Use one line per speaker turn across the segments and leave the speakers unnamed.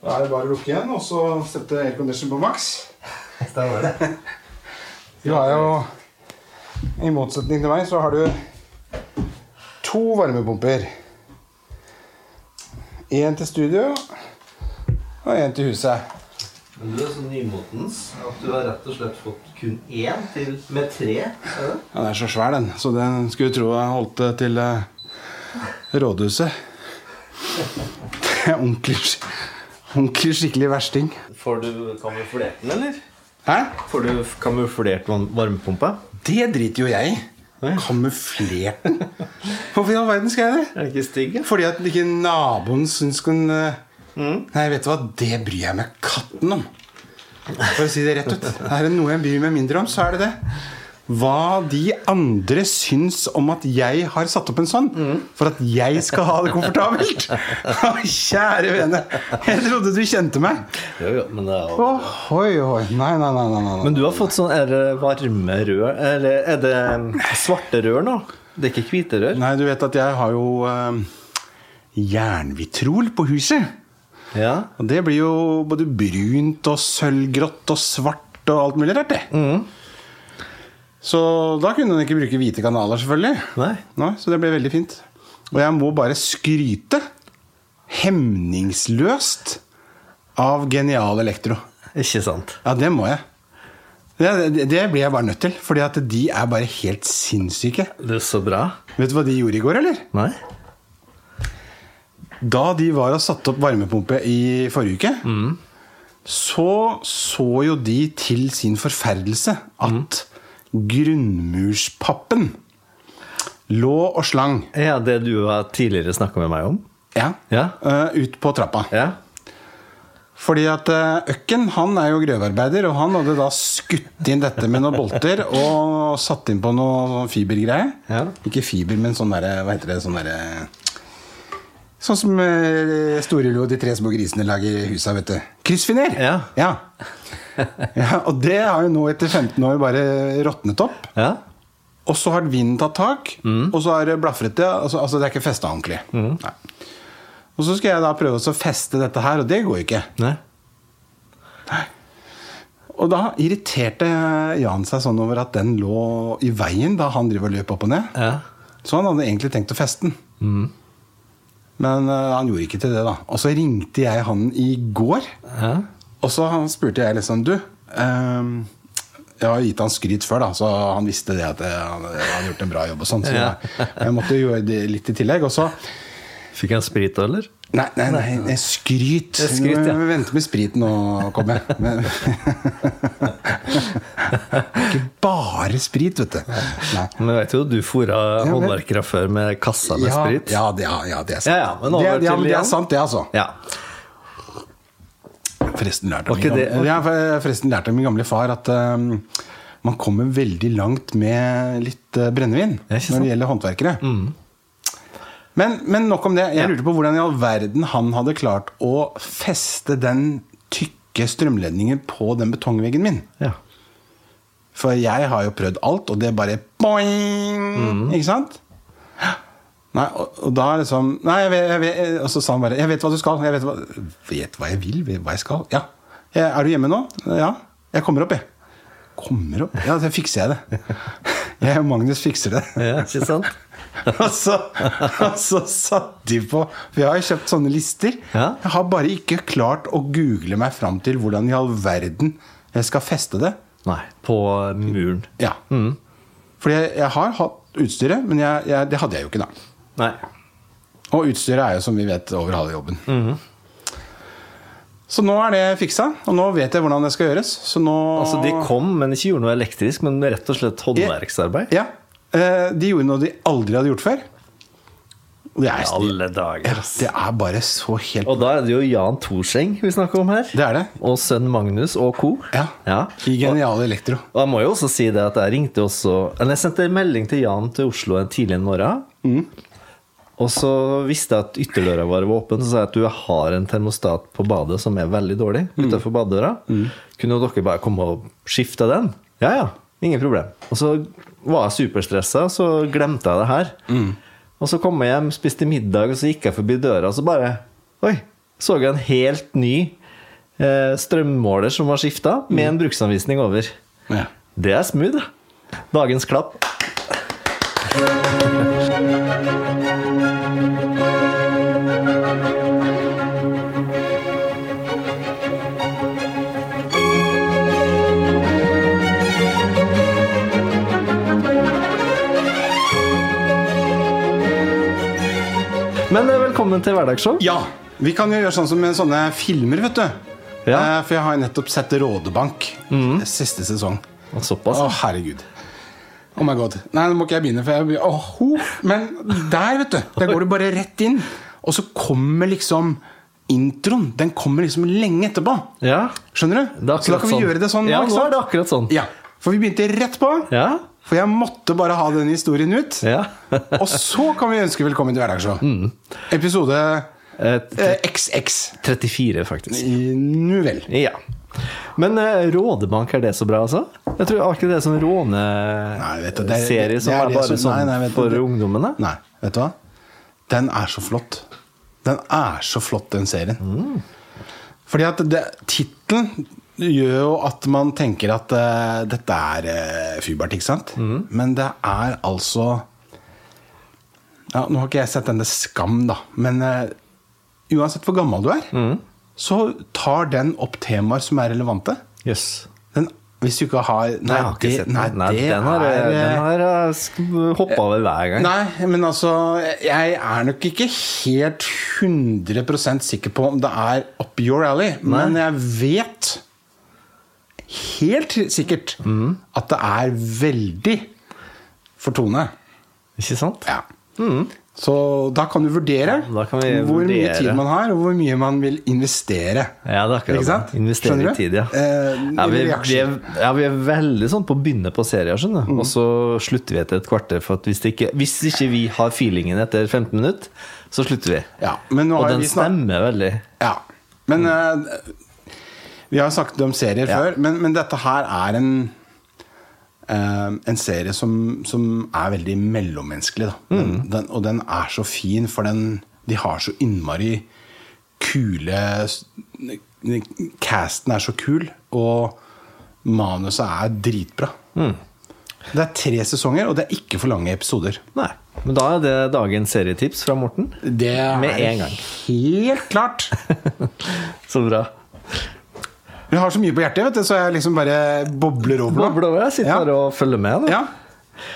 Da er det bare å lukke igjen og så sette aircondition på maks.
Stemmer det.
Du har jo, i motsetning til meg, så har du to varmepumper. Én til studio og én til huset.
Men du er så nymotens at du har rett og slett fått kun én til med tre. Er det?
Ja, Den er så svær, den, så den skulle tro jeg holdt det til eh, rådhuset. Det er ordentlig, sk- ordentlig skikkelig versting.
Får du kamuflert den, eller?
Hæ?
Får du kamuflert varm- varmepumpa?
Det driter jo jeg i.
Nei.
Kamuflert den. Hvorfor i all verden skal jeg det?
Er den ikke stygg? ja?
Fordi at ikke naboen syns hun eh, Nei, vet du hva, det bryr jeg meg katten om. For å si det rett ut. Er det noe jeg bryr meg mindre om, så er det det. Hva de andre syns om at jeg har satt opp en sånn, for at jeg skal ha det komfortabelt. Å, Kjære vene, jeg trodde du kjente meg.
Jo, jo, men det er jo...
Ohoi, ohoi. Nei, nei, nei. nei, nei, nei.
Men du har fått sånn Er det varme rør? Eller er det mm, svarte rør nå? Det er ikke hvite rør?
nei, du vet at jeg har jo eh, jernvitrol på huset.
Ja.
Og det blir jo både brunt og sølvgrått og svart og alt mulig rart, det. Så da kunne den ikke bruke hvite kanaler, selvfølgelig.
Nei.
så det ble veldig fint. Og jeg må bare skryte hemningsløst av Genial Elektro.
Ikke sant?
Ja, det må jeg. Det, det, det blir jeg bare nødt til, fordi at de er bare helt sinnssyke.
Det er så bra.
Vet du hva de gjorde i går, eller?
Nei?
Da de var og satte opp varmepumpe i forrige uke, så så jo de til sin forferdelse at grunnmurspappen lå og slang
Ja, det du har tidligere snakka med meg om?
ja,
Ja.
eh, ut på trappa.
Ja.
Fordi at eh, Økken han er jo grøvearbeider, og han hadde da skutt inn dette med noen bolter og satt inn på noe sånn fibergreie.
Ja.
Ikke fiber, men sånn derre Hva heter det? Sånn derre Sånn som eh, Storelo og de tre små grisene lager i husa, vet du. Kryssfiner!
Ja.
ja. Ja, Og det har jo nå etter 15 år bare råtnet opp.
ja.
Og så har vinden tatt tak,
Mm.
og så er det blafrete. Altså, altså det er ikke festa ordentlig. Nei. Og så skal jeg da prøve å feste dette her, og det går jo ikke.
Nei.
Og da irriterte Jan seg sånn over at den lå i veien da han driver og løp opp og ned.
Ja.
Så han hadde egentlig tenkt å feste den. Men eh, han gjorde ikke til det, da. Og så ringte jeg han i går.
Ja.
Og så han spurte jeg liksom Du, ehm, jeg har gitt han skryt før, da, så han visste det at eh, han han hadde gjort en bra jobb og sånn. Så
Ja.
jeg, jeg måtte jo gjøre det litt i tillegg. Og så
Fikk jeg en sprit da, eller?
Nei, nei, nei, det er skryt.
Det er skryt,
Nå
ja.
må Vi venter med spriten og kommer. Men... Ikke bare sprit, vet du. Nei.
Men jeg vet jo, du fôra
men-
håndverkere før med kassa med
Ja,
sprit.
ja, det, ja, ja, det er sant.
Ja, ja, men over
det, ja,
til
men det
Jan.
er sant, det, altså.
Ja.
Forresten lærte
Var
jeg min
ikke det-
gamle- Ja, for- eh, forresten lærte jeg min gamle far at ehm, man kommer veldig langt med litt eh, brennevin
Ja, ikke sant?
når
Mm.
det gjelder håndverkere. Men, men nok om det. Jeg lurte på hvordan i all verden han hadde klart å feste den tykke strømledningen på den betongveggen min.
ja.
For jeg har jo prøvd alt, og det bare boing! Ikke sant? Nei, og, og da er det sånn Nei, jeg vet, jeg vet, Og så sa han bare 'Jeg vet hva du skal'. Jeg vet, hva, vet hva jeg vil, vet hva jeg skal. Ja. «Eh, Er du hjemme nå? Ja. Jeg kommer opp, jeg. Kommer opp? Ja, så fikser jeg det. Jeg og Magnus fikser det.
ja. Ikke sant?
Og så, og så satt de på For jeg har jo kjøpt sånne lister.
Ja.
Jeg har bare ikke klart å google meg fram til hvordan i all verden jeg skal feste det.
Nei. På muren.
Ja.
Mm.
Fordi jeg, jeg har hatt utstyret, men jeg, jeg, det hadde jeg jo ikke da.
Nei.
Og utstyret er jo, som vi vet, over halve jobben.
Mm-hmm.
Så nå er det fiksa, og nå vet jeg hvordan det skal gjøres. Så nå
Altså, de kom, men ikke gjorde noe elektrisk, men rett og slett håndverksarbeid.
Ja. Eh, De gjorde noe de aldri hadde gjort før. Og det er,
Alle dager. ass.
det er bare så helt
Og da er det jo Jan Thorseng vi snakker om her.
Det er det.
Og sønnen Magnus og co.
Ja. I Geniale Elektro.
Og jeg må jo også si det at jeg ringte også Eller jeg sendte en melding til Jan til Oslo en tidlig en morgen. Mm. Og så visste jeg at ytterdøra vår var åpen, så sa jeg at du jeg har en termostat på badet som er veldig dårlig. Utenfor badedøra. Kunne dere bare komme og skifte den? Mm. Ja, ja. Ingen problem. Og så var jeg superstressa, og så glemte Mm. jeg det her. Og så kom jeg hjem, spiste middag, og så gikk jeg forbi døra, og så bare Oi, så jeg en helt ny eh, strømmåler som var skifta, med en bruksanvisning over.
Ja.
Det er smooth. da. Dagens klapp. Men eh, velkommen til hverdagsshow.
ja. Vi kan jo gjøre sånn som med sånne filmer, vet du.
Ja. Mm-hmm.
Eh, For jeg har jo nettopp sett Rådebank. Siste sesong.
Såpass.
Å, herregud. Oh my god. Nei, nå må ikke jeg begynne, for jeg blir åh, ho. Men der, vet du. Der går du bare rett inn. Og så kommer liksom introen. Den kommer liksom lenge etterpå.
Ja.
Skjønner du?
Det er
så da kan vi
akkurat sånn.
gjøre det sånn
Ja,
ikke
nå er
sant?
det akkurat sånn.
Ja. For vi begynte rett på.
Ja.
For jeg måtte bare ha den historien ut.
ja. Mm.
Og så kan vi ønske velkommen til Hverdagsshow. Episode
Et
eh, XX.
34, faktisk.
I- Nu vel.
Ja. Men eh, Rådebank, er det så bra, altså? Jeg tror var ikke det er sånn
Nei, vet du, det er-
råneserie
det
som
er
er
det
bare
som- nei,
sånn
nei, vet du,
for
det-
ungdommene.
Nei, vet du hva? Den er så flott. Den er så flott, den serien. Fordi at det- tittelen gjør jo at man tenker at eh, dette er eh, fybert, ikke sant?
Mhm.
Men det er altså ja, Nå har ikke jeg sett denne Skam, da, men eh, uansett hvor gammel du er,
Mhm.
så tar den opp temaer som er relevante.
Jøss.
Den, hvis du ikke har Nei,
Jeg har ikke
det-
sett den.
nei,
Nei,
det
den har,
er,
jeg-
eh,
den har jeg sk- hoppa over hver gang.
Nei, men altså Jeg er nok ikke helt 100 sikker på om det er up your alley, men jeg vet helt sikkert
Mhm.
at det er veldig for Tone.
Ikke sant?
Ja. Så da kan du vurdere
Mhm. Da kan vi
hvor mye
vurdere.
tid man har, og hvor mye man vil investere.
Ja, det er akkurat
Ikke sant?
det. Investere
Skjønner du?
i tid, ja.
Eh,
ja, vi,
eller i
vi, er,
aksjer.
ja, vi er veldig sånn på å begynne på serier,
Mm.
skjønner du. Og så slutter vi etter et kvarter. For at hvis, det ikke, hvis ikke vi har feelingen etter 15 minutter, så slutter vi.
Ja, men nå
Og
har
den
vi snakket
stemmer veldig.
Ja. Men eh, Vi har snakket om serier
Mm. Ja.
før, men, men dette her er en eh, en serie som, som er veldig mellommenneskelig. Da. Den,
Mm.
den, og den er så fin, for den, de har så innmari kule s- Casten er så kul, og manuset er dritbra.
Mm.
Det er tre sesonger, og det er ikke for lange episoder.
Nei. Men da er det dagens serietips fra Morten.
Det
Med
er
en gang.
helt klart.
Så bra.
Vi har så mye på hjertet, vet du, så jeg liksom bare bobler over. nå.
Bobler over. Jeg sitter
Ja.
her og følger med. Da.
Ja.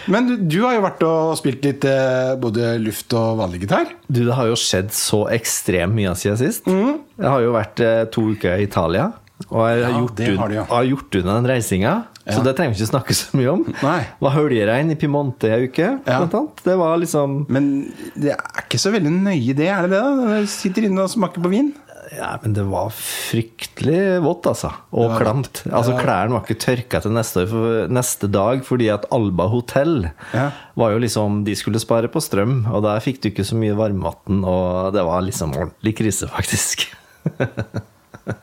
Men du, du har jo vært og spilt litt eh, både luft og vanlig gitar.
Du, det har jo skjedd så ekstremt mye siden sist.
Mm.
Jeg har jo vært eh, to uker i Italia. Og jeg har,
Ja,
gjort,
det
un-
har du, ja.
har gjort unna den reisinga, så det trenger vi ikke snakke så mye om.
Nei.
Var høljerein i Piemonte ei uke,
Ja.
blant annet. Det var liksom
Men det er ikke så veldig nøye det, er det det? da? Du sitter inne og smaker på vin.
Ja, men det var fryktelig vått, altså. Og
var
klamt. Altså, klærne var ikke tørka til neste, år, for- neste dag, fordi at Alba hotell
Ja.
var jo liksom De skulle spare på strøm, og der fikk du ikke så mye varmevann, og det var liksom ordentlig krise, faktisk.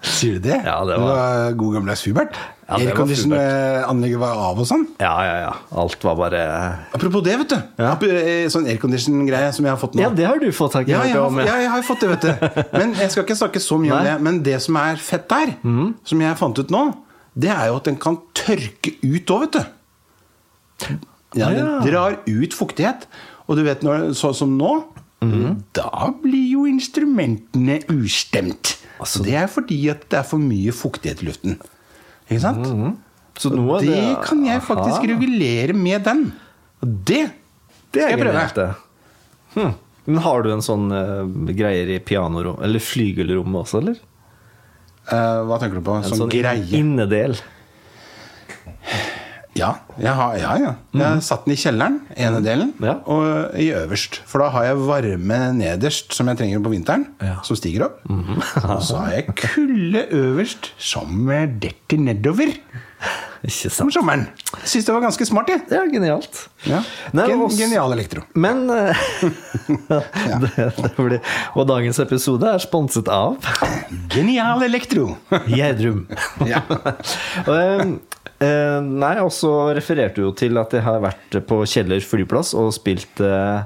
Sier du det?
Ja, det var-
god gammeldags Hubert.
Ja, det var
Aircondition-anlegget var av og sånn.
Ja, ja, ja. Alt var bare
Apropos det, vet du.
Ja.
Ap- eh, Sånn aircondition-greie som jeg har fått nå.
Ja, det har du fått tak i.
Ja, jeg har,
Tom,
ja, jeg har jo fått det, vet du. Men jeg skal ikke snakke så mye om
Nei. Mm.
det. Men det som er fett der, som jeg fant ut nå, det er jo at den kan tørke ut òg, vet du. Ja, den
Ah, ja.
drar ut fuktighet. Og du vet, når, sånn som nå
Mm.
Da blir jo instrumentene ustemt.
Altså-
det er fordi at det er for mye fuktighet i luften. Ikke sant?
Så nå Mm. er
Det kan jeg
Aha.
faktisk regulere med den. Og det
Det
skal jeg prøve.
genialt, det. Hm. Men har du en sånn eh, greier i pianorommet, eller flygelrommet også, eller?
Eh, hva tenker du på?
En
Sånn, greie?
innedel.
Ja, jeg har, ja, ja. Jeg har satt den i kjelleren, ene delen,
Mm. Ja.
og i øverst. For da har jeg varme nederst, som jeg trenger på vinteren,
Ja. Mhm.
som stiger opp. og så har jeg kulde øverst, som detter nedover
Ikke
om
sant?
sommeren. Syns det var ganske smart, jeg.
Det er genialt.
Ja.
Nei,
Gen
men også-
Genial elektro.
Men eh, det, det blir, Og dagens episode er sponset av
Genial elektro!
Gjerdrum.
ja.
Og, eh, eh, nei, og så refererte du jo til at jeg har vært på Kjeller flyplass og spilt eh,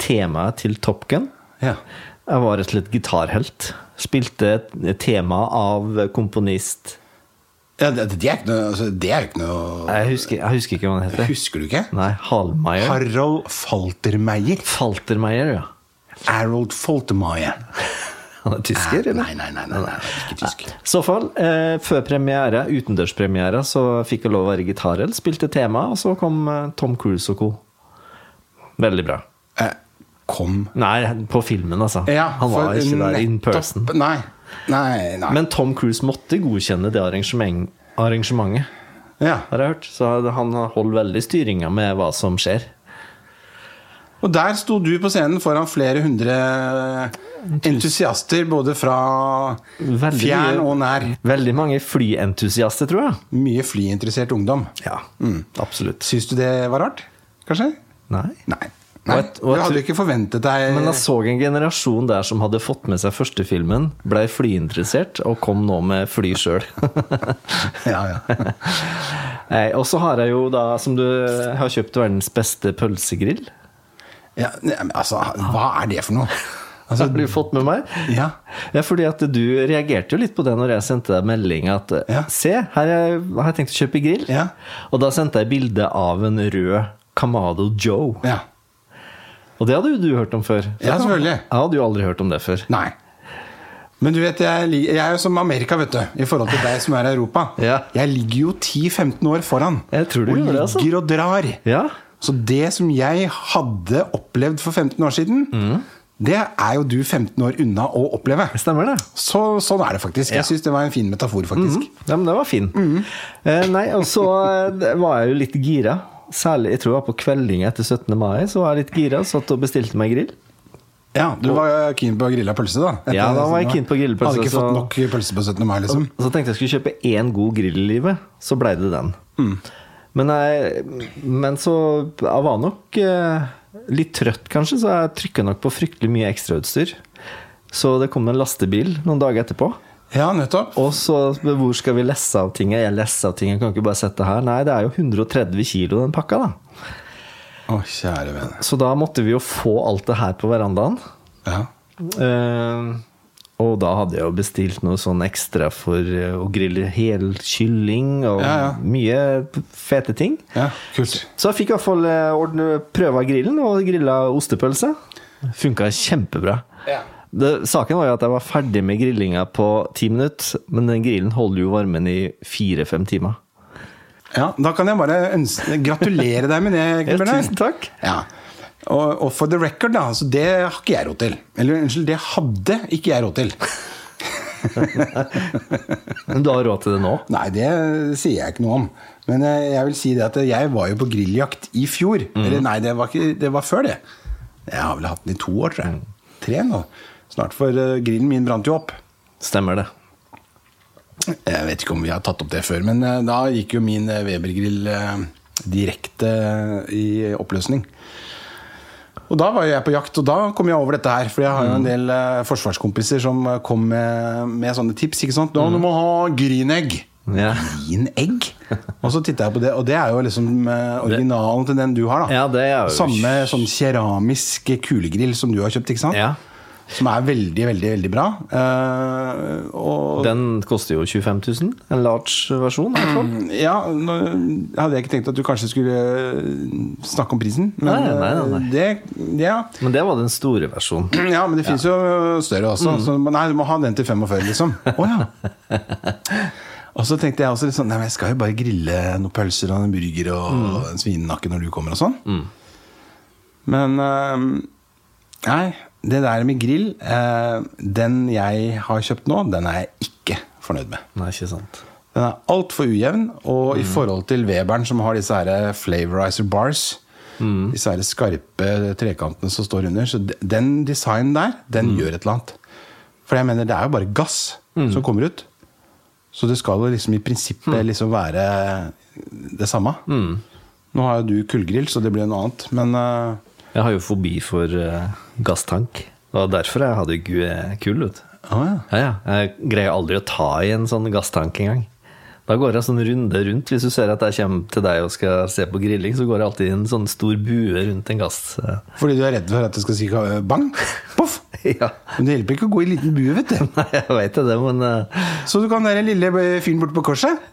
temaet til Top Gun.
ja.
Jeg var rett og slett gitarhelt. Spilte et tema av komponist
Ja, det, det er ikke noe, altså, det er jo ikke noe
Jeg husker, jeg husker ikke hva han heter.
Husker du ikke?
Nei, Hallmeier.
Harold Faltermeier.
Faltermeier, ja.
Harold Faltermeier.
Han er tysker, eller?
Nei, nei, nei, nei, nei, ikke tysk.
I så fall, eh, før premiere, utendørspremiere, så fikk jeg lov å være gitarhelt, spilte tema, og så kom eh, Tom Cruise og co. Veldig bra.
Eh, kom
Nei, på filmen, altså. Han var
for
ikke der in
nettopp-
person.
Nei. Nei, nei.
Men Tom Cruise måtte godkjenne det arrangement, arrangementet,
ja.
har jeg hørt. Så han holder veldig styringa med hva som skjer.
Og der sto du på scenen foran flere hundre entusiaster, både fra
Veldig
fjern
mye-
og nær.
Veldig mange flyentusiaster, tror jeg.
Mye flyinteressert ungdom.
Ja, absolutt.
Syns du det var rart? Kanskje?
Nei.
Nei. Nei.
Og et- og
Du
et-
hadde jo ikke forventet deg
Men altså- jeg så en generasjon der som hadde fått med seg første filmen, blei flyinteressert og kom nå med fly sjøl.
ja, ja.
og så har jeg jo da, som du har kjøpt verdens beste pølsegrill.
ja, nei, men altså, hva er det for noe?
Altså, har du fått med meg?
Ja.
Ja, fordi at du reagerte jo litt på det når jeg sendte deg melding at
Ja.
Se, her er- har jeg tenkt å kjøpe grill.
Ja.
Og da sendte jeg bilde av en rød Camado Joe.
Ja.
Og det hadde jo du hørt om før.
Ja, selvfølgelig.
Jeg hadde jo aldri hørt om det før.
Nei. Men du vet, jeg, li- jeg er jo som Amerika, vet du, i forhold til deg som er i Europa.
Ja.
Jeg ligger jo 10-15 år foran.
Jeg tror du
og
gjør det, altså.
ligger og drar.
Ja,
Så det som jeg hadde opplevd for 15 år siden,
Mm.
det er jo du 15 år unna å oppleve.
stemmer det.
Så, sånn er det faktisk. Jeg syns det var en fin metafor, faktisk.
Ja, men det var fin. Eh, nei, og så eh, var jeg jo litt gira. Særlig, jeg tror det var på kveldinga etter 17. mai, så var jeg litt gira. Satt og bestilte meg grill.
Ja, Du var keen på å grille pølse, da? Etter
Ja, da var
17.
jeg keen på å grille pølse,
Hadde ikke
så-
fått nok pølse på 17. mai, liksom?
Og så tenkte jeg skulle kjøpe én god grill i livet, så blei det den. Men, jeg, men så Jeg var nok eh, litt trøtt, kanskje, så jeg trykka nok på fryktelig mye ekstrautstyr. Så det kom en lastebil noen dager etterpå.
Ja, nettopp.
Og så Hvor skal vi lesse av ting? Jeg lesser av ting, jeg kan ikke bare sette det her. Nei, det er jo 130 kilo den pakka, da.
Å, kjære vene.
Så da måtte vi jo få alt det her på verandaen.
Ja.
Eh, og da hadde jeg jo bestilt noe sånn ekstra for eh, å grille hel kylling og
Ja, ja.
mye fete ting.
ja, kult.
Så jeg fikk i hvert fall eh, ordne- prøva grillen, og grilla ostepølse. Funka kjempebra.
Ja.
Det, saken var jo at jeg var ferdig med grillinga på ti minutter, men den grillen holder jo varmen i fire-fem timer.
Ja, Da kan jeg bare ønske, gratulere deg med det.
Ja,
Bjørnar.
tusen takk.
Ja. Og, og for the record, da, så det har ikke jeg råd til. Eller unnskyld, det hadde ikke jeg råd til.
Men du har råd til det nå?
Nei, det sier jeg ikke noe om. Men eh, jeg vil si det at jeg var jo på grilljakt i fjor. Eller nei, det var, ikke, det var før det. Jeg har vel hatt den i to år, tror jeg. Tre nå. Snart, for eh, grillen min brant jo opp.
Stemmer det.
Jeg vet ikke om vi har tatt opp det før, men eh, da gikk jo min eh, Weber-grill eh, direkte eh, i oppløsning. Og da var jo jeg på jakt, og da kom jeg over dette her. For jeg har jo
Mm.
en del eh, forsvarskompiser som eh, kom med, med sånne tips. ikke sant? Da, Du må ha grynegg!
Ja.
Grynegg? Og så titta jeg på det, og det er jo liksom eh, originalen til den du har. da.
Ja, det er jo-
Samme sånn keramisk eh, kulegrill som du har kjøpt, ikke sant?
ja.
Som er veldig, veldig, veldig bra. Eh, og
Den koster jo 25 000. En large versjon. i hvert fall.
Ja, nå hadde jeg ikke tenkt at du kanskje skulle eh, snakke om prisen. Men eh,
Nei, nei, nei, nei.
Det, ja.
Men det var den store versjonen.
ja, men det fins jo større også. Så,
Mm.
nei, du må ha den til 45, liksom. Å ja. Og så tenkte jeg også litt sånn Nei, men jeg skal jo bare grille noen pølser og en burger og
Mm.
en svinenakke når du kommer og sånn. Men eh, Nei, det der med grill eh, Den jeg har kjøpt nå, den er jeg ikke fornøyd med.
Nei, ikke sant.
Den er altfor ujevn, og i forhold til Weberen, som har disse her flavorizer bars, disse her skarpe trekantene som står under, så de- den designen der, den gjør et eller annet. For jeg mener, det er jo bare gass som kommer ut. Så det skal jo liksom i prinsippet liksom være det samme. Nå har jo du kullgrill, så det blir noe annet, men eh,
Jeg har jo fobi for eh, gasstank. Det var derfor jeg hadde gu- eh, kull. Ut.
Å ja.
Ja, ja. Jeg greier aldri å ta i en sånn gasstank engang. Da går jeg sånn runde rundt. Hvis du ser at jeg kommer til deg og skal se på grilling, så går jeg alltid i en sånn stor bue rundt en gass. eh.
Fordi du er redd for at det skal si eh, bang? Poff!
ja.
Men det hjelper ikke å gå i liten bue, vet du.
Nei, jeg veit det, men eh,
Så du kan den lille eh, fyren borte på korset?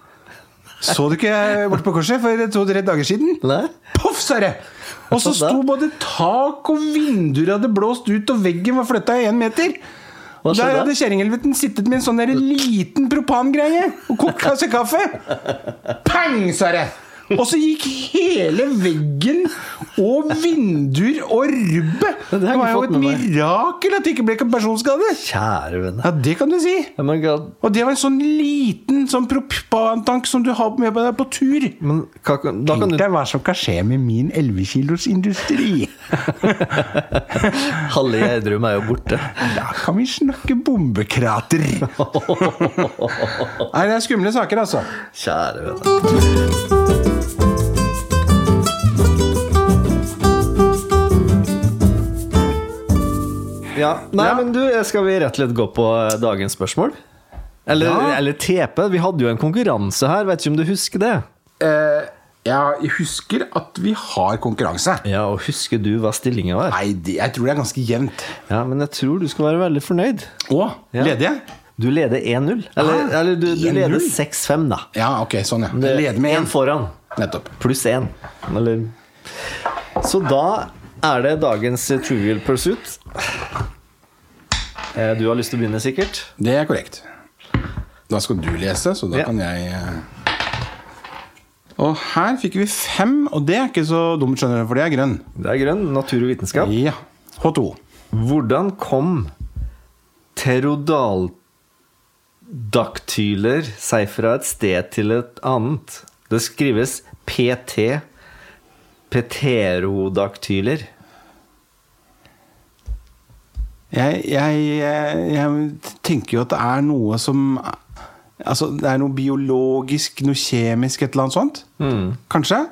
Så du ikke borte på korset for to-tre dager siden?
Nei?
Poff, sa det! Og så sto både tak og vinduer hadde blåst ut, og veggen var flytta én meter.
Hva skjedde?
Der hadde kjerringhelveten sittet med en sånn der liten propangreie og kokt kasse kaffe. Pang, sa det! Og så gikk hele veggen og vinduer og rubbet.
Men det
Det
har jeg ikke
var jo
fått
et
med meg.
mirakel at det ikke ble personskader.
Kjære vene.
Ja, det kan du si.
Ja, Men, hva-
Og det var en sånn liten sånn propantank som du har med deg på tur.
men hva, kan- da kan
Tenk
du
deg hva som kan skje med min 11-kilos industri.
Halve Gjerdrum er jo borte.
Da kan vi snakke bombekrater. Nei, det er skumle saker, altså.
Kjære vene. Ja, nei, men du, eh, skal vi rett og slett gå på eh, dagens spørsmål? Eller,
Ja.
eller TP. Vi hadde jo en konkurranse her, vet ikke om du husker det?
Eh, jeg husker at vi har konkurranse.
Ja, og husker du hva stillinga var?
Nei, det, jeg tror det er ganske jevnt.
Ja, men jeg tror du skal være veldig fornøyd.
Å,
Ja.
ledige?
Du leder 1-0. Eller,
Ah,
eller du, du
1-0.
leder 6-5, da.
Ja, ok, sånn, ja. Leder med
en
én.
foran.
Nettopp.
Pluss én. Eller Så da er det dagens Trivial Pursuit. Eh, Du har lyst til å begynne, sikkert?
Det er korrekt. Da skal du lese, så da
Ja.
kan jeg eh. Og her fikk vi fem, og det er ikke så dumt, skjønner du, for det er grønn.
Det er grønn. Natur og vitenskap.
Ja. H2.
Hvordan kom pterodaldaktyler seg fra et sted til et annet? Det skrives PT. Pterodaktyler.
Jeg, jeg, jeg, jeg tenker jo at det er noe som Altså, det er noe biologisk, noe kjemisk, et eller annet sånt.
Mm.
Kanskje?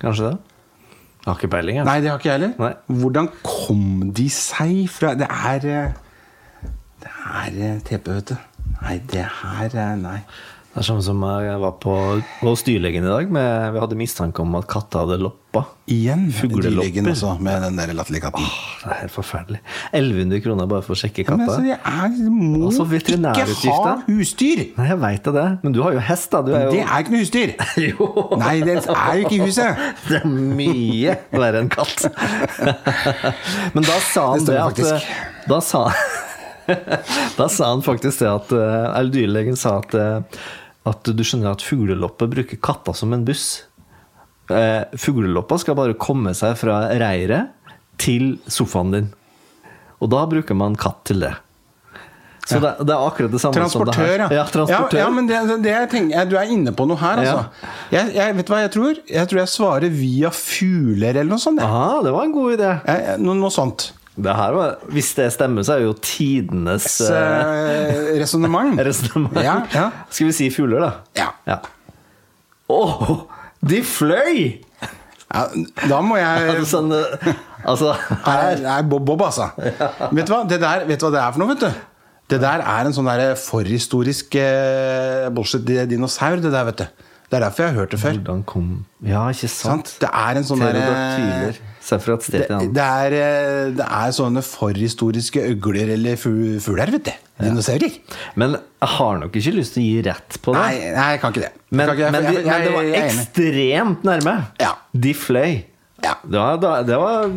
Kanskje det? Jeg har ikke peiling, jeg.
Nei, det har ikke jeg heller.
Nei.
Hvordan kom de seg fra Det er eh, Det er eh, TP, vet du. Nei, det her eh, Nei.
Det er sånn som jeg var på hos dyrlegen i dag. Med, vi hadde mistanke om at katta hadde loppa.
Igjen
Fuglelopper. Ah,
dyrlegen også, med den der latterlige katten.
Åh, Det er helt forferdelig. 1100 kroner bare for å sjekke
Ja, men
katta.
altså, jeg er, må
Altså,
ikke ha
veterinærutgifter.
husdyr!
Nei, jeg veit det. Men du har jo hest, da. Du er jo
Det er ikke noe husdyr!
Jo!
Nei, det er jo ikke i huset!
Det er mye verre enn katt. Men da sa han
Det
det,
stemmer
at eh, Da sa, da sa han faktisk det at eh, Eller dyrlegen sa at, eh, at du skjønner at fuglelopper bruker katta som en buss. Eh, Fugleloppa skal bare komme seg fra reiret til sofaen din. Og da bruker man katt til det. Så det, det er akkurat det samme Sånn som det
Transportør,
her.
ja.
Ja, transportør.
Ja, ja, men det, altså, det jeg tenker, du er inne på noe her,
Ja.
altså. Jeg, jeg, vet du hva jeg tror? Jeg tror jeg svarer via fugler eller noe sånt. jeg.
Aha, det var en god idé.
Jeg, jeg, noe, noe sånt.
Det her var, hvis det stemmer, så er jo tidenes
Så,
eh,
eh, Resonnement.
resonnement.
Ja, ja.
Skal vi si fugler, da?
Ja.
ja. Åh, de fløy!
ja. Da må jeg
Sånn, eh, altså
Nei, nei, Bob Bob, altså. Vet, du hva? Det der, vet du hva det er for noe, vet du? Det der er en sånn der forhistorisk eh, bullshit-dinosaur, det der, vet du. Det er derfor jeg har hørt det før.
Hvordan kom Ja, ikke sant?
Sant? Det er en sånn derre
Pterodaktyler. Se fra et sted
Det,
til annet.
det, er, eh, det er sånne forhistoriske øgler eller fu- fugler, vet du. Dinosaurer.
Men jeg har nok ikke lyst til å gi rett på det.
Nei, nei, jeg kan ikke det. Jeg
men,
kan ikke, jeg-
men,
jeg-
de, men det
jeg-
var
jeg er enig.
ekstremt nærme.
Ja.
De fløy.
Ja.
Det var, da- det var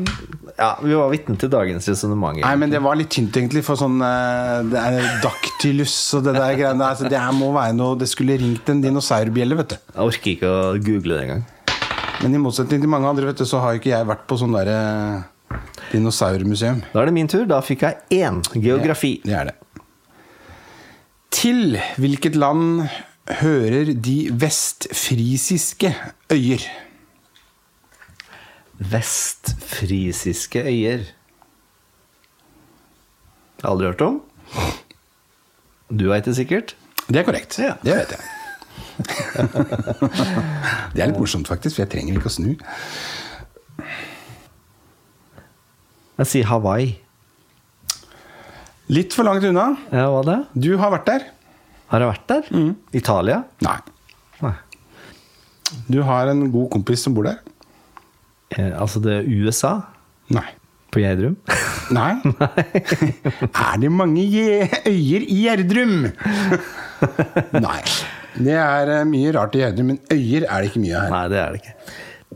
Ja, vi var vitne til dagens resonnement.
Nei, men det var litt tynt, egentlig, for sånn eh, Det er Dactylus og det der greiene der. så Det her må være noe Det skulle ringt en dinosaurbjelle, vet du.
Jeg orker ikke å google det engang.
Men i motsetning til mange andre, vet du, så har jo ikke jeg vært på sånn derre dinosaurmuseum.
Da er det min tur. Da fikk jeg én geografi.
Det er det. Til hvilket land hører de vestfrisiske øyer?
Vestfrisiske øyer. Jeg har aldri hørt om. Du veit det sikkert.
Det er korrekt.
Ja.
Det vet jeg. det er litt morsomt, faktisk, for jeg trenger ikke å snu.
Jeg sier Hawaii.
Litt for langt unna.
Ja, hva det?
Du har vært der.
Har jeg vært der? Italia?
Mm. Nei.
Nei.
Du har en god kompis som bor der.
Eh, altså, det er USA?
Nei.
På Gjerdrum?
Nei. er det mange je- øyer i Gjerdrum? Nei. Det er eh, mye rart i Gjerdrum, men øyer er det ikke mye her.
Nei, det er det ikke.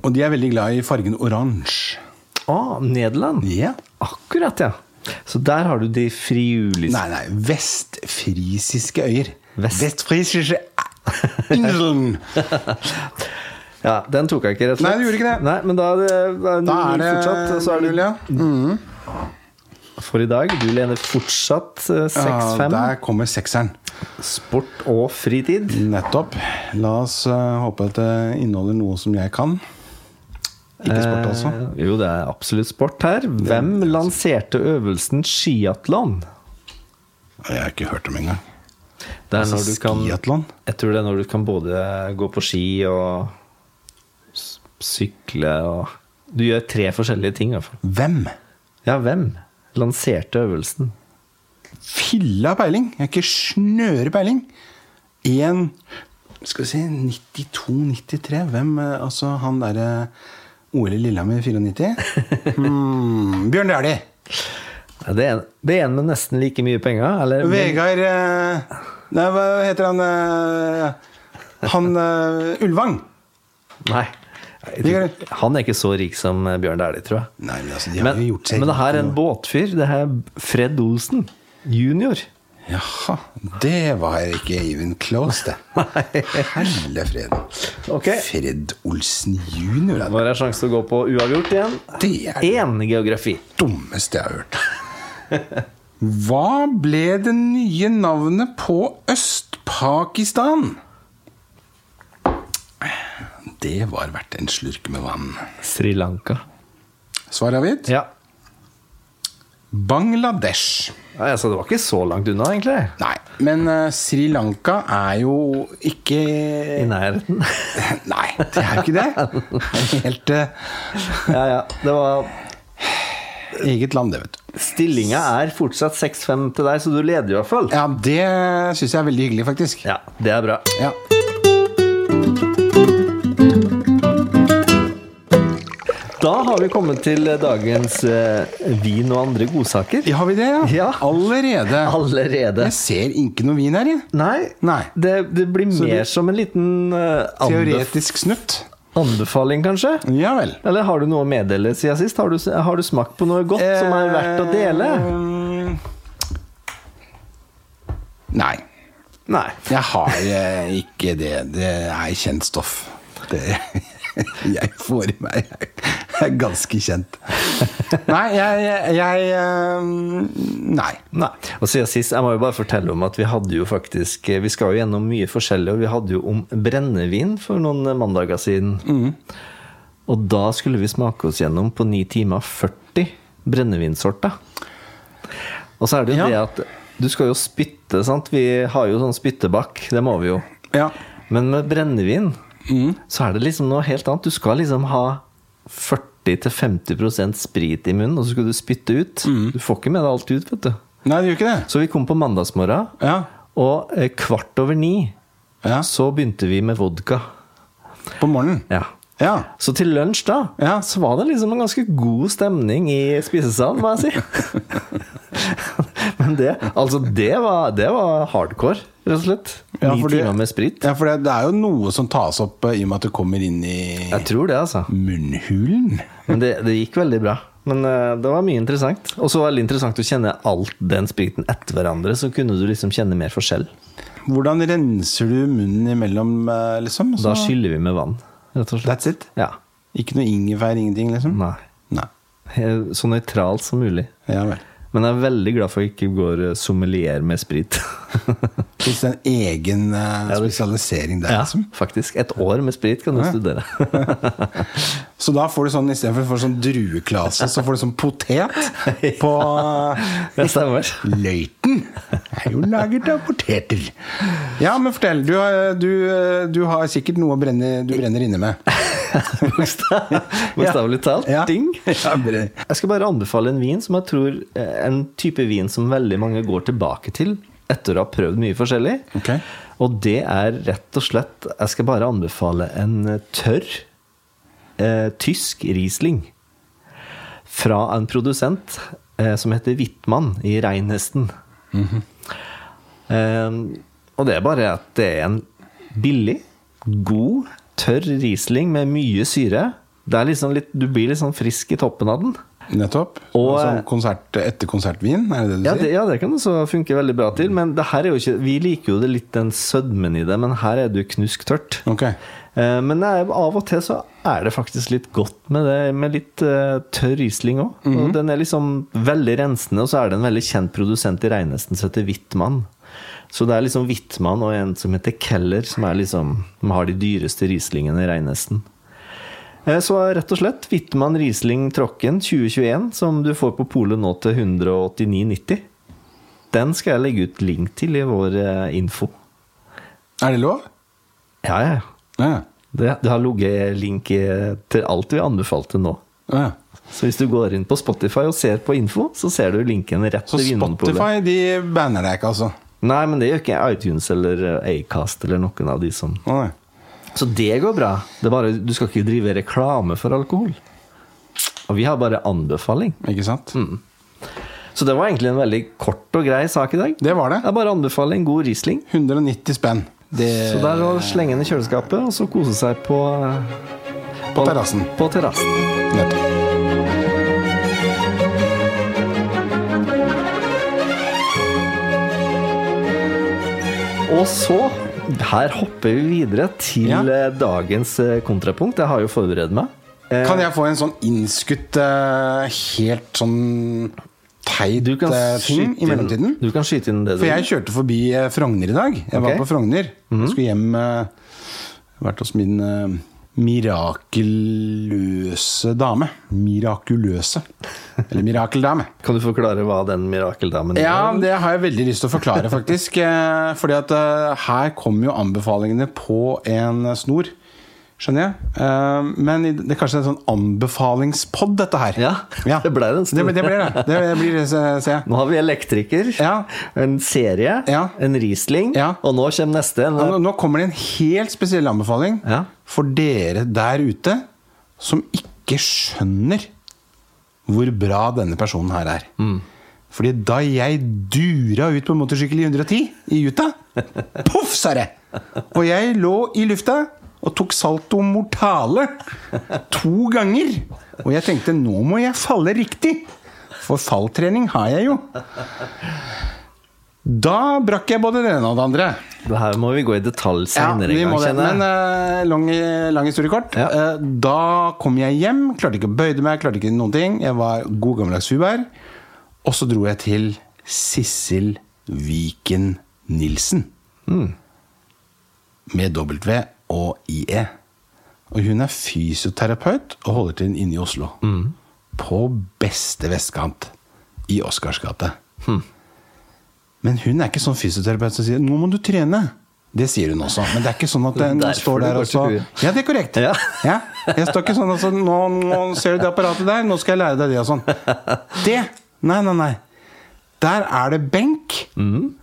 Og de er veldig glad i fargen oransje.
Å, Nederland!
Ja.
Akkurat, ja. Så der har du de friulis...
Nei, nei. Vestfrisiske øyer.
Vest-
Vestfrisiske Inseln.
Ja, den tok jeg ikke, rett og
Nei,
slett.
du gjorde ikke det.
Nei, men da er det, da er det,
Da er det
fortsatt. og Så er det
Julia.
for i dag. Du lener fortsatt eh,
Ja,
6-5.
der kommer sekseren.
Sport og fritid.
Nettopp. La oss eh, håpe at det inneholder noe som jeg kan. Ikke sport, altså.
Eh, jo, det er absolutt sport her. Hvem lanserte øvelsen skiatlon?
Jeg har ikke hørt om engang.
Det er når du kan
Altså, Skiatlon?
Jeg tror det er når du kan både gå på ski og s- sykle og Du gjør tre forskjellige ting, i hvert fall.
Hvem?
Ja, hvem lanserte øvelsen?
Filla peiling! Jeg har ikke snøre peiling. Én Skal vi si 92-93. Hvem? eh, Altså han derre OL i Lillehammer i 94? Hmm. Bjørn Dæhlie!
Ja, Det er, en, det er en med nesten like mye penger. Eller
Vegard eh, Nei, hva heter han eh, Han eh, Ulvang!
Nei. Jeg tror- Han er ikke så rik som Bjørn Dæhlie, tror jeg.
Nei, men altså,
Men, men det her er en båtfyr. Det her er Fred Olsen junior.
Jaha. Det var ikke even close, det. Helle freden.
Ok.
Fred Olsen jr.
Nå er det sjanse til å gå på uavgjort igjen.
Det er det
Én geografi.
dummeste jeg har hørt. Hva ble det nye navnet på Øst-Pakistan? Det var verdt en slurk med vann.
Sri Lanka.
Svar avgitt?
Ja.
Bangladesh.
Nei, Altså, det var ikke så langt unna, egentlig.
Nei, men eh, Sri Lanka er jo ikke
I nærheten.
Nei, det er jo ikke det. Det er Helt eh,
ja, ja. Det var
eget land, det, vet du.
Stillinga er fortsatt 6-5 til deg, så du leder i hvert fall.
Ja, det syns jeg er veldig hyggelig, faktisk.
Ja, det er bra.
Ja.
Da har vi kommet til dagens eh, vin og andre godsaker.
Har vi det, ja?
Ja.
Allerede.
Allerede.
Jeg ser ikke noe vin her, jeg.
Nei,
Nei.
Det, det blir mer som en liten eh, anbef
Teoretisk snutt.
anbefaling, kanskje?
Ja vel.
Eller har du noe å meddele siden sist? Har du, har du smakt på noe godt som er verdt å dele?
Eh, Mm. Nei.
Nei.
Jeg har eh, ikke det. Det er kjent stoff. Det jeg får i meg, er ganske kjent. Nei, jeg, jeg, jeg eh, Nei.
Nei. Og siden sist, jeg må jo bare fortelle om at vi hadde jo faktisk eh, Vi skal jo gjennom mye forskjellig, og vi hadde jo om brennevin for noen eh, mandager siden. Og da skulle vi smake oss gjennom på 9 timer 40 brennevinsorter. Og så er det jo
Ja.
det at du skal jo spytte, sant. Vi har jo sånn spyttebakk, det må vi jo.
Ja.
Men med brennevin
Mm.
så er det liksom noe helt annet. Du skal liksom ha 40-50 sprit i munnen, og så skal du spytte ut.
Mm.
Du får ikke med deg alt ut, vet du.
Nei, det gjør ikke det.
Så vi kom på mandagsmorgen,
Ja.
og eh, kvart over ni
ja.
så begynte vi med vodka.
På morgenen.
Ja.
Ja.
Så til lunsj, da,
Ja.
så var det liksom en ganske god stemning i spisesalen, må jeg si. Men det, altså det var, det var hardcore, rett og slett.
Ja,
Ni
fordi-
timer med sprit.
Ja, for det, det er jo noe som tas opp eh, i og med at det kommer inn i
Jeg tror det, altså.
munnhulen.
Men det, det gikk veldig bra. Men eh, det var mye interessant. Og så var det veldig interessant å kjenne alt den spriten etter hverandre. Så kunne du liksom kjenne mer forskjell.
Hvordan renser du munnen imellom, eh, liksom?
Da
Så,
skyller vi med vann, rett og slett.
that's it.
Ja.
Ikke noe ingefær, ingenting, liksom?
Nei.
Nei.
Eh, Så nøytralt som mulig.
Ja vel.
Men jeg er veldig glad for at jeg ikke går eh, sommelier med sprit.
Hvis det er en egen eh, spesialisering der,
ja,
liksom.
faktisk. Et år med sprit kan du studere.
Så da får du sånn istedenfor for sånn drueklase, så får du sånn potet på
Det stemmer.
Løiten er jo laget av poteter. Ja, men fortell. Du, har- du, eh, du har sikkert noe å brenne, du brenner inne med.
Bokstav- Bokstavelig talt.
Ja.
Ding.
Ja, bre-
Jeg skal bare anbefale en vin som jeg tror eh, En type vin som veldig mange går tilbake til etter å ha prøvd mye forskjellig.
Ok.
Og det er rett og slett Jeg skal bare anbefale en eh, tørr eh, tysk Riesling fra en produsent eh, som heter Wittmann i Reinhesten. Eh, og det er bare at det er en billig, god, tørr Riesling med mye syre. Det er liksom litt, du blir litt sånn frisk i toppen av den.
Nettopp.
Og-
altså konsert, etterkonsertvin, er det det du
Ja, det,
sier?
ja, det kan også funke veldig bra til. Men det her er jo ikke, vi liker jo det litt den sødmen i det, men her er det jo knusktørt.
Ok.
Eh, Men det er, av og til så er det faktisk litt godt med det, med litt eh, tørr Riesling òg. Og Den er liksom veldig rensende, og så er det en veldig kjent produsent i Reinesten som heter Wittmann. Så det er liksom Wittmann og en som heter Keller, som er liksom, som har de dyreste Rieslingene i Reinesten. Eh, Så rett og slett Wittmann Riesling Tråkken 2021, som du får på polet nå til 189,90. Den skal jeg legge ut link til i vår eh, info.
Er det lov?
Ja, ja, ja.
Ja.
Det, det har ligget link eh, til alt vi anbefalte nå.
ja.
Så hvis du går inn på Spotify og ser på info, så ser du linken rett
Så
til Vinmonopolet.
Spotify de banner deg ikke, altså?
Nei, men det gjør ikke iTunes eller eh, Acast eller noen av de som
Å, Nei.
Så det går bra. Det er bare, du skal ikke drive reklame for alkohol. Og vi har bare anbefaling.
Ikke sant?
Mm. Så det var egentlig en veldig kort og grei sak i dag.
Det var det.
Jeg bare anbefaler en god Riesling.
190 spenn.
Så det er å slenge den i kjøleskapet og så kose seg på eh, På
terrassen.
På terrassen.
Nettopp.
Og så, her hopper vi videre til
Ja.
eh, dagens eh, kontrapunkt. Jeg har jo forberedt meg. Eh,
Kan jeg få en sånn innskutt, eh, helt sånn teit
du kan
eh, ting
skyte
i
inn-
mellomtiden?
Du kan skyte inn det du
For jeg kjørte forbi eh, Frogner i dag. Jeg
Ok. Mhm.
var på Frogner. Skulle hjem eh, Vært hos min eh, mirakuløse dame. Mirakuløse. Eller mirakeldame.
Kan du forklare hva den mirakeldamen
Ja,
er?
det har jeg veldig lyst til å forklare, faktisk. Eh, Fordi at eh, her kommer jo anbefalingene på en snor. Skjønner jeg. Eh, Men i- det er kanskje en sånn anbefalingspod, dette her.
Ja, det ble en snor.
Det, det blir det. det, blir det ser jeg.
Nå har vi elektriker,
Ja.
en serie,
Ja.
en Riesling,
Ja.
og nå kommer neste. En,
Ja, nå- nå kommer det en helt spesiell anbefaling
Ja.
for dere der ute som ikke skjønner hvor bra denne personen her er. Fordi da jeg dura ut på motorsykkel i 110 i Utah, poff, sa det! Og jeg lå i lufta og tok salto mortale to ganger. Og jeg tenkte nå må jeg falle riktig, for falltrening har jeg jo. Da brakk jeg både det ene og det andre.
Det her må vi gå i detalj senere.
Ja, vi
en
må
gang,
det.
kjenner jeg.
Men eh, lang, lang historie kort.
Ja.
Eh, da kom jeg hjem, klarte ikke å bøyde meg, klarte ikke noen ting. Jeg var god gammeldags hubær. Og så dro jeg til Sissel Viken Nilsen.
Mm.
Med W og E. IE. Og hun er fysioterapeut og holder til inne i Oslo.
Mm.
På beste vestkant i Oscarsgata.
Hm.
Men hun er ikke sånn fysioterapeut som sier 'nå må du trene'. Det sier hun også, men det er ikke sånn at den
Derfor
står
du
der
går
og
til
så
huet.
Ja, det er korrekt.
Ja.
Ja, Jeg står ikke sånn altså, nå, 'nå ser du det apparatet der, nå skal jeg lære deg det' og sånn. Det! Nei, nei, nei. Der er det benk,
Mm.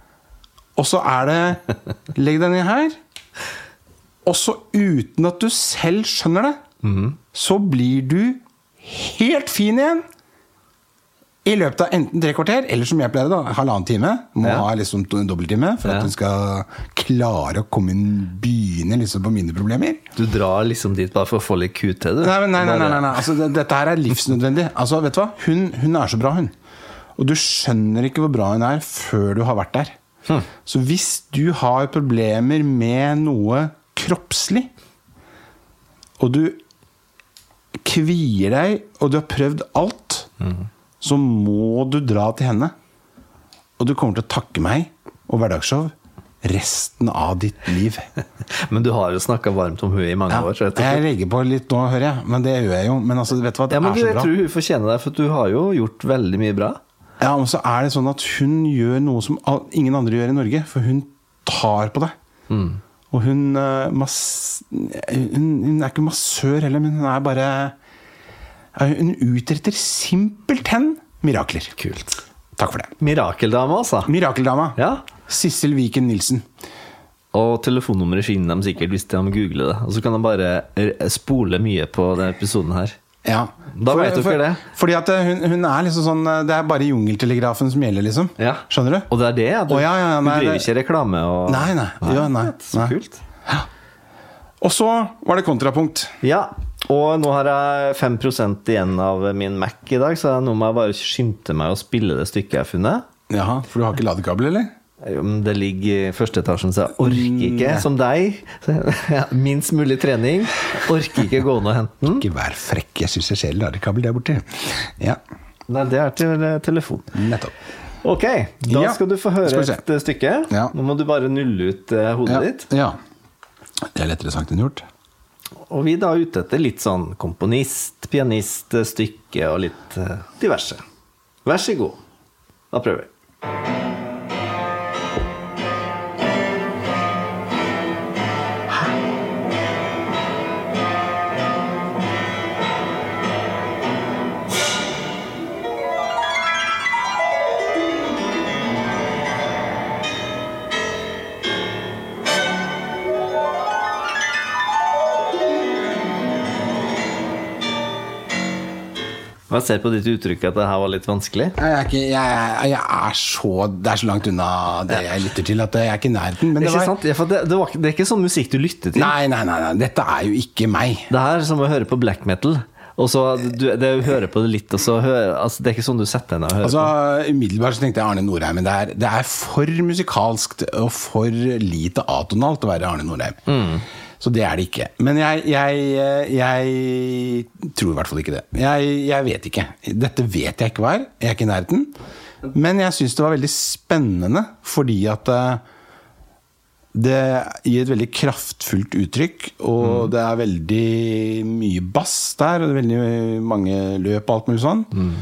og så er det 'legg deg ned her'. Og så uten at du selv skjønner det,
Mhm.
så blir du helt fin igjen. I løpet av enten tre kvarter, eller som jeg pleier, da, halvannen time. Må
Ja.
ha liksom to- en dobbelttime for
Ja.
at du skal klare å komme inn, begynne liksom på mine problemer.
Du drar liksom dit bare for å få litt kut til, du.
Nei, men nei, nei, nei, nei,
Bare-
nei. Altså, det, dette her er livsnødvendig. Altså, vet du hva? Hun, hun er så bra, hun. Og du skjønner ikke hvor bra hun er før du har vært der. Så hvis du har problemer med noe kroppslig, og du kvier deg, og du har prøvd alt, så må du dra til henne. Og du kommer til å takke meg og Hverdagsshow resten av ditt liv.
Men du har jo snakka varmt om henne i mange år. Så jeg tror-
Jeg legger på litt nå, hører jeg. Men det gjør jeg jo. Men altså, vet du hva, det
ja, men
er
du,
så
jeg
bra.
tror hun fortjener deg, for du har jo gjort veldig mye bra.
Ja, og så er det sånn at hun gjør noe som al- ingen andre gjør i Norge, for hun tar på deg.
Mm.
Og hun, eh, mass, hun Hun er ikke massør heller, men hun er bare ja, Hun utretter simpelthen mirakler.
Kult.
Takk for det.
Mirakeldame, altså.
Mirakeldama.
Ja.
Sissel Viken Nilsen.
Og telefonnummeret finner de sikkert hvis de googler det. Og så kan de bare r- spole mye på denne episoden her.
Ja.
Da vet dere
for,
det.
Fordi at eh, hun, hun er liksom sånn eh, Det er bare jungeltelegrafen som gjelder, liksom.
Ja.
Skjønner du?
Og det er det? at Du,
Å, ja, ja, ja,
du
nei,
driver
det-
ikke reklame og
Nei, nei. Ja, nei,
Så
nei.
kult.
Og så var det kontrapunkt.
Ja. Og nå har jeg 5 igjen av min Mac i dag, så nå må jeg bare skynde meg å spille det stykket jeg har funnet.
Jaha, For du har ikke ladekabel, eller?
Jo, men Det ligger i første etasjen, så jeg orker
Mm,
ikke, som deg. Ja, Minst mulig trening. Orker ikke gå ned og hente den.
Ikke vær frekk. Jeg syns jeg ser ladekabel der borte. Ja,
Nei, det er til eh, telefon.
nettopp.
Ok, da
Ja,
skal du få høre
skal vi se.
et eh, stykke.
Ja.
Nå må du bare nulle ut eh, hodet
Ja.
ditt.
ja. Det er lettere sagt enn gjort.
Og vi er da ute etter litt sånn komponist, pianist, eh, stykke og litt eh, diverse. Vær så god. Da prøver vi. Og Jeg ser på ditt uttrykk at det her var litt vanskelig.
Jeg er, ikke, jeg, jeg, jeg er så Det er så langt unna det jeg lytter til, at jeg er ikke i nærheten. Men det
ikke
var
sant? Ja, for det, det, var, ikke- det er ikke sånn musikk du lytter til.
Nei, nei, nei, nei. Dette er jo ikke meg.
Det her er som å høre på black metal. Og så du, det, du hører på det litt, og så hører, altså, Det er ikke sånn du setter deg ned og hører.
Altså, Umiddelbart så tenkte jeg Arne Norheim, men det er, det er for musikalskt og for lite atonalt å være Arne Norheim. Så det er det ikke. Men jeg, jeg, jeg tror i hvert fall ikke det. Jeg, jeg vet ikke. Dette vet jeg ikke hva er. Jeg er ikke i nærheten. Men jeg syns det var veldig spennende fordi at eh, det gir et veldig kraftfullt uttrykk, og
Mm.
det er veldig mye bass der, og det er veldig mange løp og alt mulig sånn.
Mm.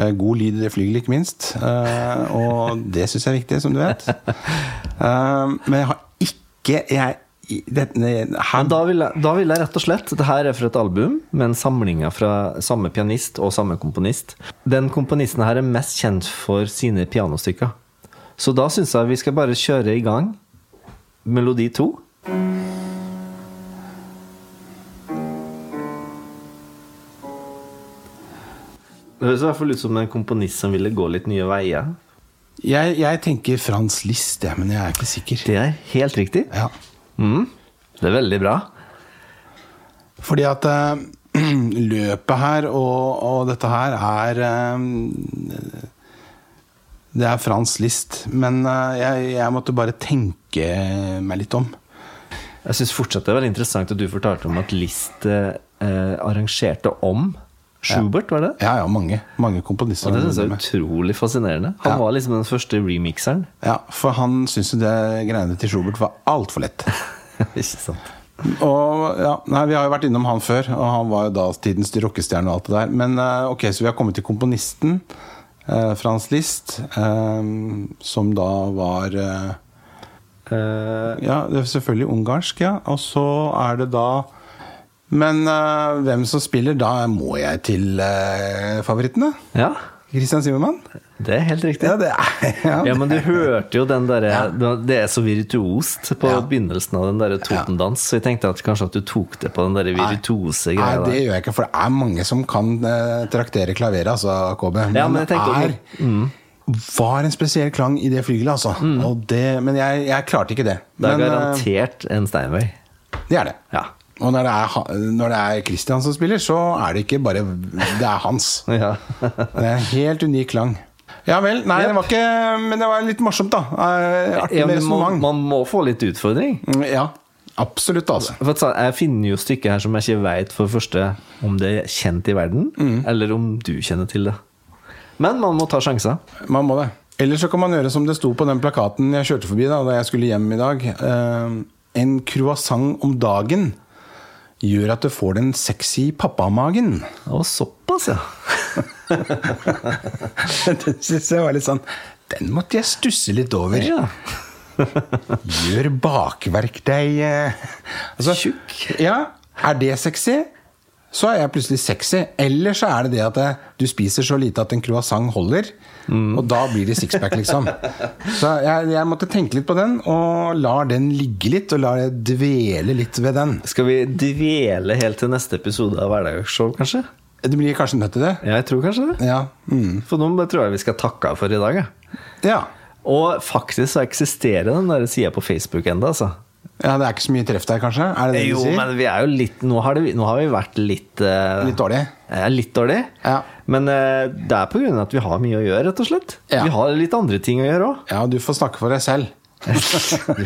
Eh, God lyd i det flygelet, ikke minst. Eh, og det syns jeg er viktig, som du vet. Eh, men jeg har ikke jeg, i- det, ne, her,
Men da vil, jeg, da vil jeg rett og slett Det her er fra et album med en samling fra samme pianist og samme komponist. Den komponisten her er mest kjent for sine pianostykker. Så da syns jeg vi skal bare kjøre i gang melodi to. Det høres i hvert fall ut som en komponist som ville gå litt nye veier.
jeg, jeg tenker Frans List, jeg, men jeg er ikke sikker.
Det er helt riktig.
Ja.
Mm. Det er veldig bra.
Fordi at eh, løpet her og, og dette her er eh, Det er Frans List. Men eh, jeg, jeg måtte bare tenke meg litt om.
Jeg syns fortsatt det er veldig interessant at du fortalte om at List eh, eh, arrangerte om Schubert, var det?
Ja, ja, mange, mange komponister.
Og det
har
syns jeg
drevet
er
med.
utrolig fascinerende. Han
Ja.
var liksom den første remixeren.
Ja, For han syntes jo det greiene til Schubert var altfor lett.
Ikke sant?
Og ja, nei, Vi har jo vært innom han før, og han var jo da tidens rockestjerne. og alt det der Men eh, ok, så vi har kommet til komponisten, eh, Frans List, eh, som da var eh,
Eh,
Ja, det er selvfølgelig ungarsk, ja. Og så er det da Men eh, hvem som spiller, da må jeg til eh, favorittene.
ja,
Christian Zimmermann?
det er helt riktig.
Ja, det er ja.
Ja, men du hørte jo den derre Det er så virtuost på
Ja.
begynnelsen av den derre totendans, så jeg tenkte at kanskje at du tok det på den derre virtuose
Nei,
greia
det
der.
gjør jeg ikke, for det er mange som kan eh, traktere klaveret, altså, KB. Men,
Ja, men jeg tenkte-
er
Mm.
var en spesiell klang i det flygelet, altså. Og det, men jeg, jeg klarte ikke det.
Det er
men, eh,
garantert en Steinway.
det er det.
Ja.
Og når det, er, ha- når det er Christian som spiller, så er det ikke bare Det er hans.
ja.
Det er en helt unik klang. Ja vel. Nei, det var ikke Men det var litt morsomt, da. Eh, Artig
ja
med
men man,
resonnement.
man må få litt utfordring.
Mm, Ja. Absolutt, altså.
For at sa- jeg finner jo stykker her som jeg ikke vet for det første om det er kjent i verden,
Mm.
eller om du kjenner til det. Men man må ta sjanser.
Man må det. Eller så kan man gjøre som det sto på den plakaten jeg kjørte forbi da, da jeg skulle hjem i dag. Eh, en croissant om dagen gjør at du får den sexy pappamagen.
Og såpass, ja.
det syns jeg var litt sånn Den måtte jeg stusse litt over.
ja.
Gjør bakverk deg eh.
Tjukk.
Ja, er det sexy? Så er jeg plutselig sexy. Eller så er det det at eh, du spiser så lite at en croissant holder.
Mm.
Og da blir det sixpack, liksom. Så jeg, jeg måtte tenke litt på den, og lar den ligge litt. Og lar jeg dvele litt ved den.
Skal vi dvele helt til neste episode av Hverdagsshow, kanskje?
Du blir kanskje nødt til det?
Jeg tror kanskje det.
Ja. Mm.
For nå tror jeg vi skal takke for i dag. Jeg.
ja.
Og faktisk så eksisterer den der sida på Facebook enda altså.
Ja, det er ikke så mye treff der, kanskje? Er det det
Jo,
du sier?
men vi er jo litt Nå har, det, nå har vi vært litt eh,
Litt dårlig?
eh, litt dårlig.
Ja.
Men eh, det er på grunn av at vi har mye å gjøre, rett og slett.
Ja.
Vi har litt andre ting å gjøre òg.
Ja, du får snakke for deg selv.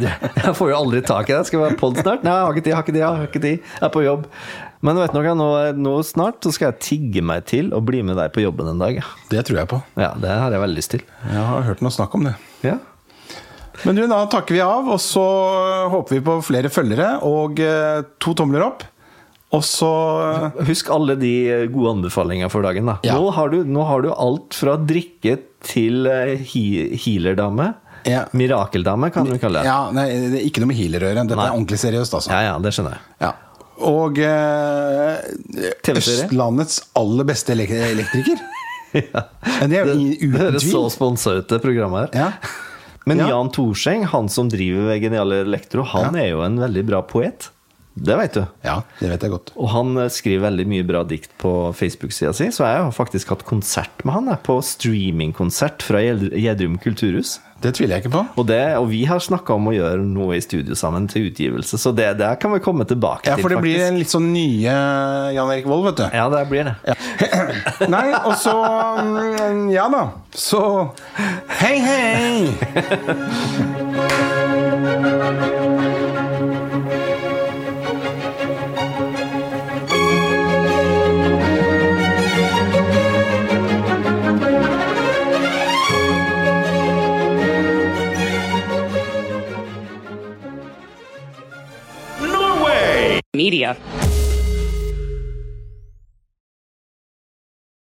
Jeg får jo aldri tak i det. Skal være pod snart? Nei, jeg har ikke tid, jeg har ikke tid, jeg har ikke tid. Jeg er på jobb. Men vet du noe, nå, nå snart så skal jeg tigge meg til å bli med deg på jobben en dag. ja.
Det tror jeg på.
Ja, det har jeg veldig lyst til.
Jeg har hørt noe snakk om det.
Ja.
Men du, da takker vi av, og så eh, håper vi på flere følgere og eh, to tomler opp. Og så eh,
Husk alle de eh, gode anbefalingene for dagen. da
Ja.
nå, har du, nå har du alt fra drikke til eh, he healerdame.
Ja.
Mirakeldame, kan du kalle det.
Ja, nei, det er ikke noe med healer å gjøre. Dette
Nei.
er ordentlig seriøst, altså.
Ja, ja, det skjønner jeg.
Ja. Og eh,
TV-serie?
Østlandets aller beste elek elektriker. ja. Det er jo i-
Det
uten
høres så
tvil.
sponsa ut, det programmet her.
Ja.
Men
Ja.
Jan Thorseng, han som driver Geniale Elektro, han er jo en veldig bra poet. Det veit du.
ja, det vet jeg godt.
Og han eh, skriver veldig mye bra dikt på Facebook-sida si, så jeg har faktisk hatt konsert med han. Jeg, på streamingkonsert fra Gjeld- Gjedrum kulturhus.
Det tviler jeg ikke på.
Og, det, og vi har snakka om å gjøre noe i studio sammen til utgivelse, så det der kan vi komme tilbake
Ja,
til,
For det blir
faktisk.
en litt sånn nye Jan Erik Vold, vet du.
Ja, det blir det.
Nei, og så mm, Ja da. Så hei, hei!
media.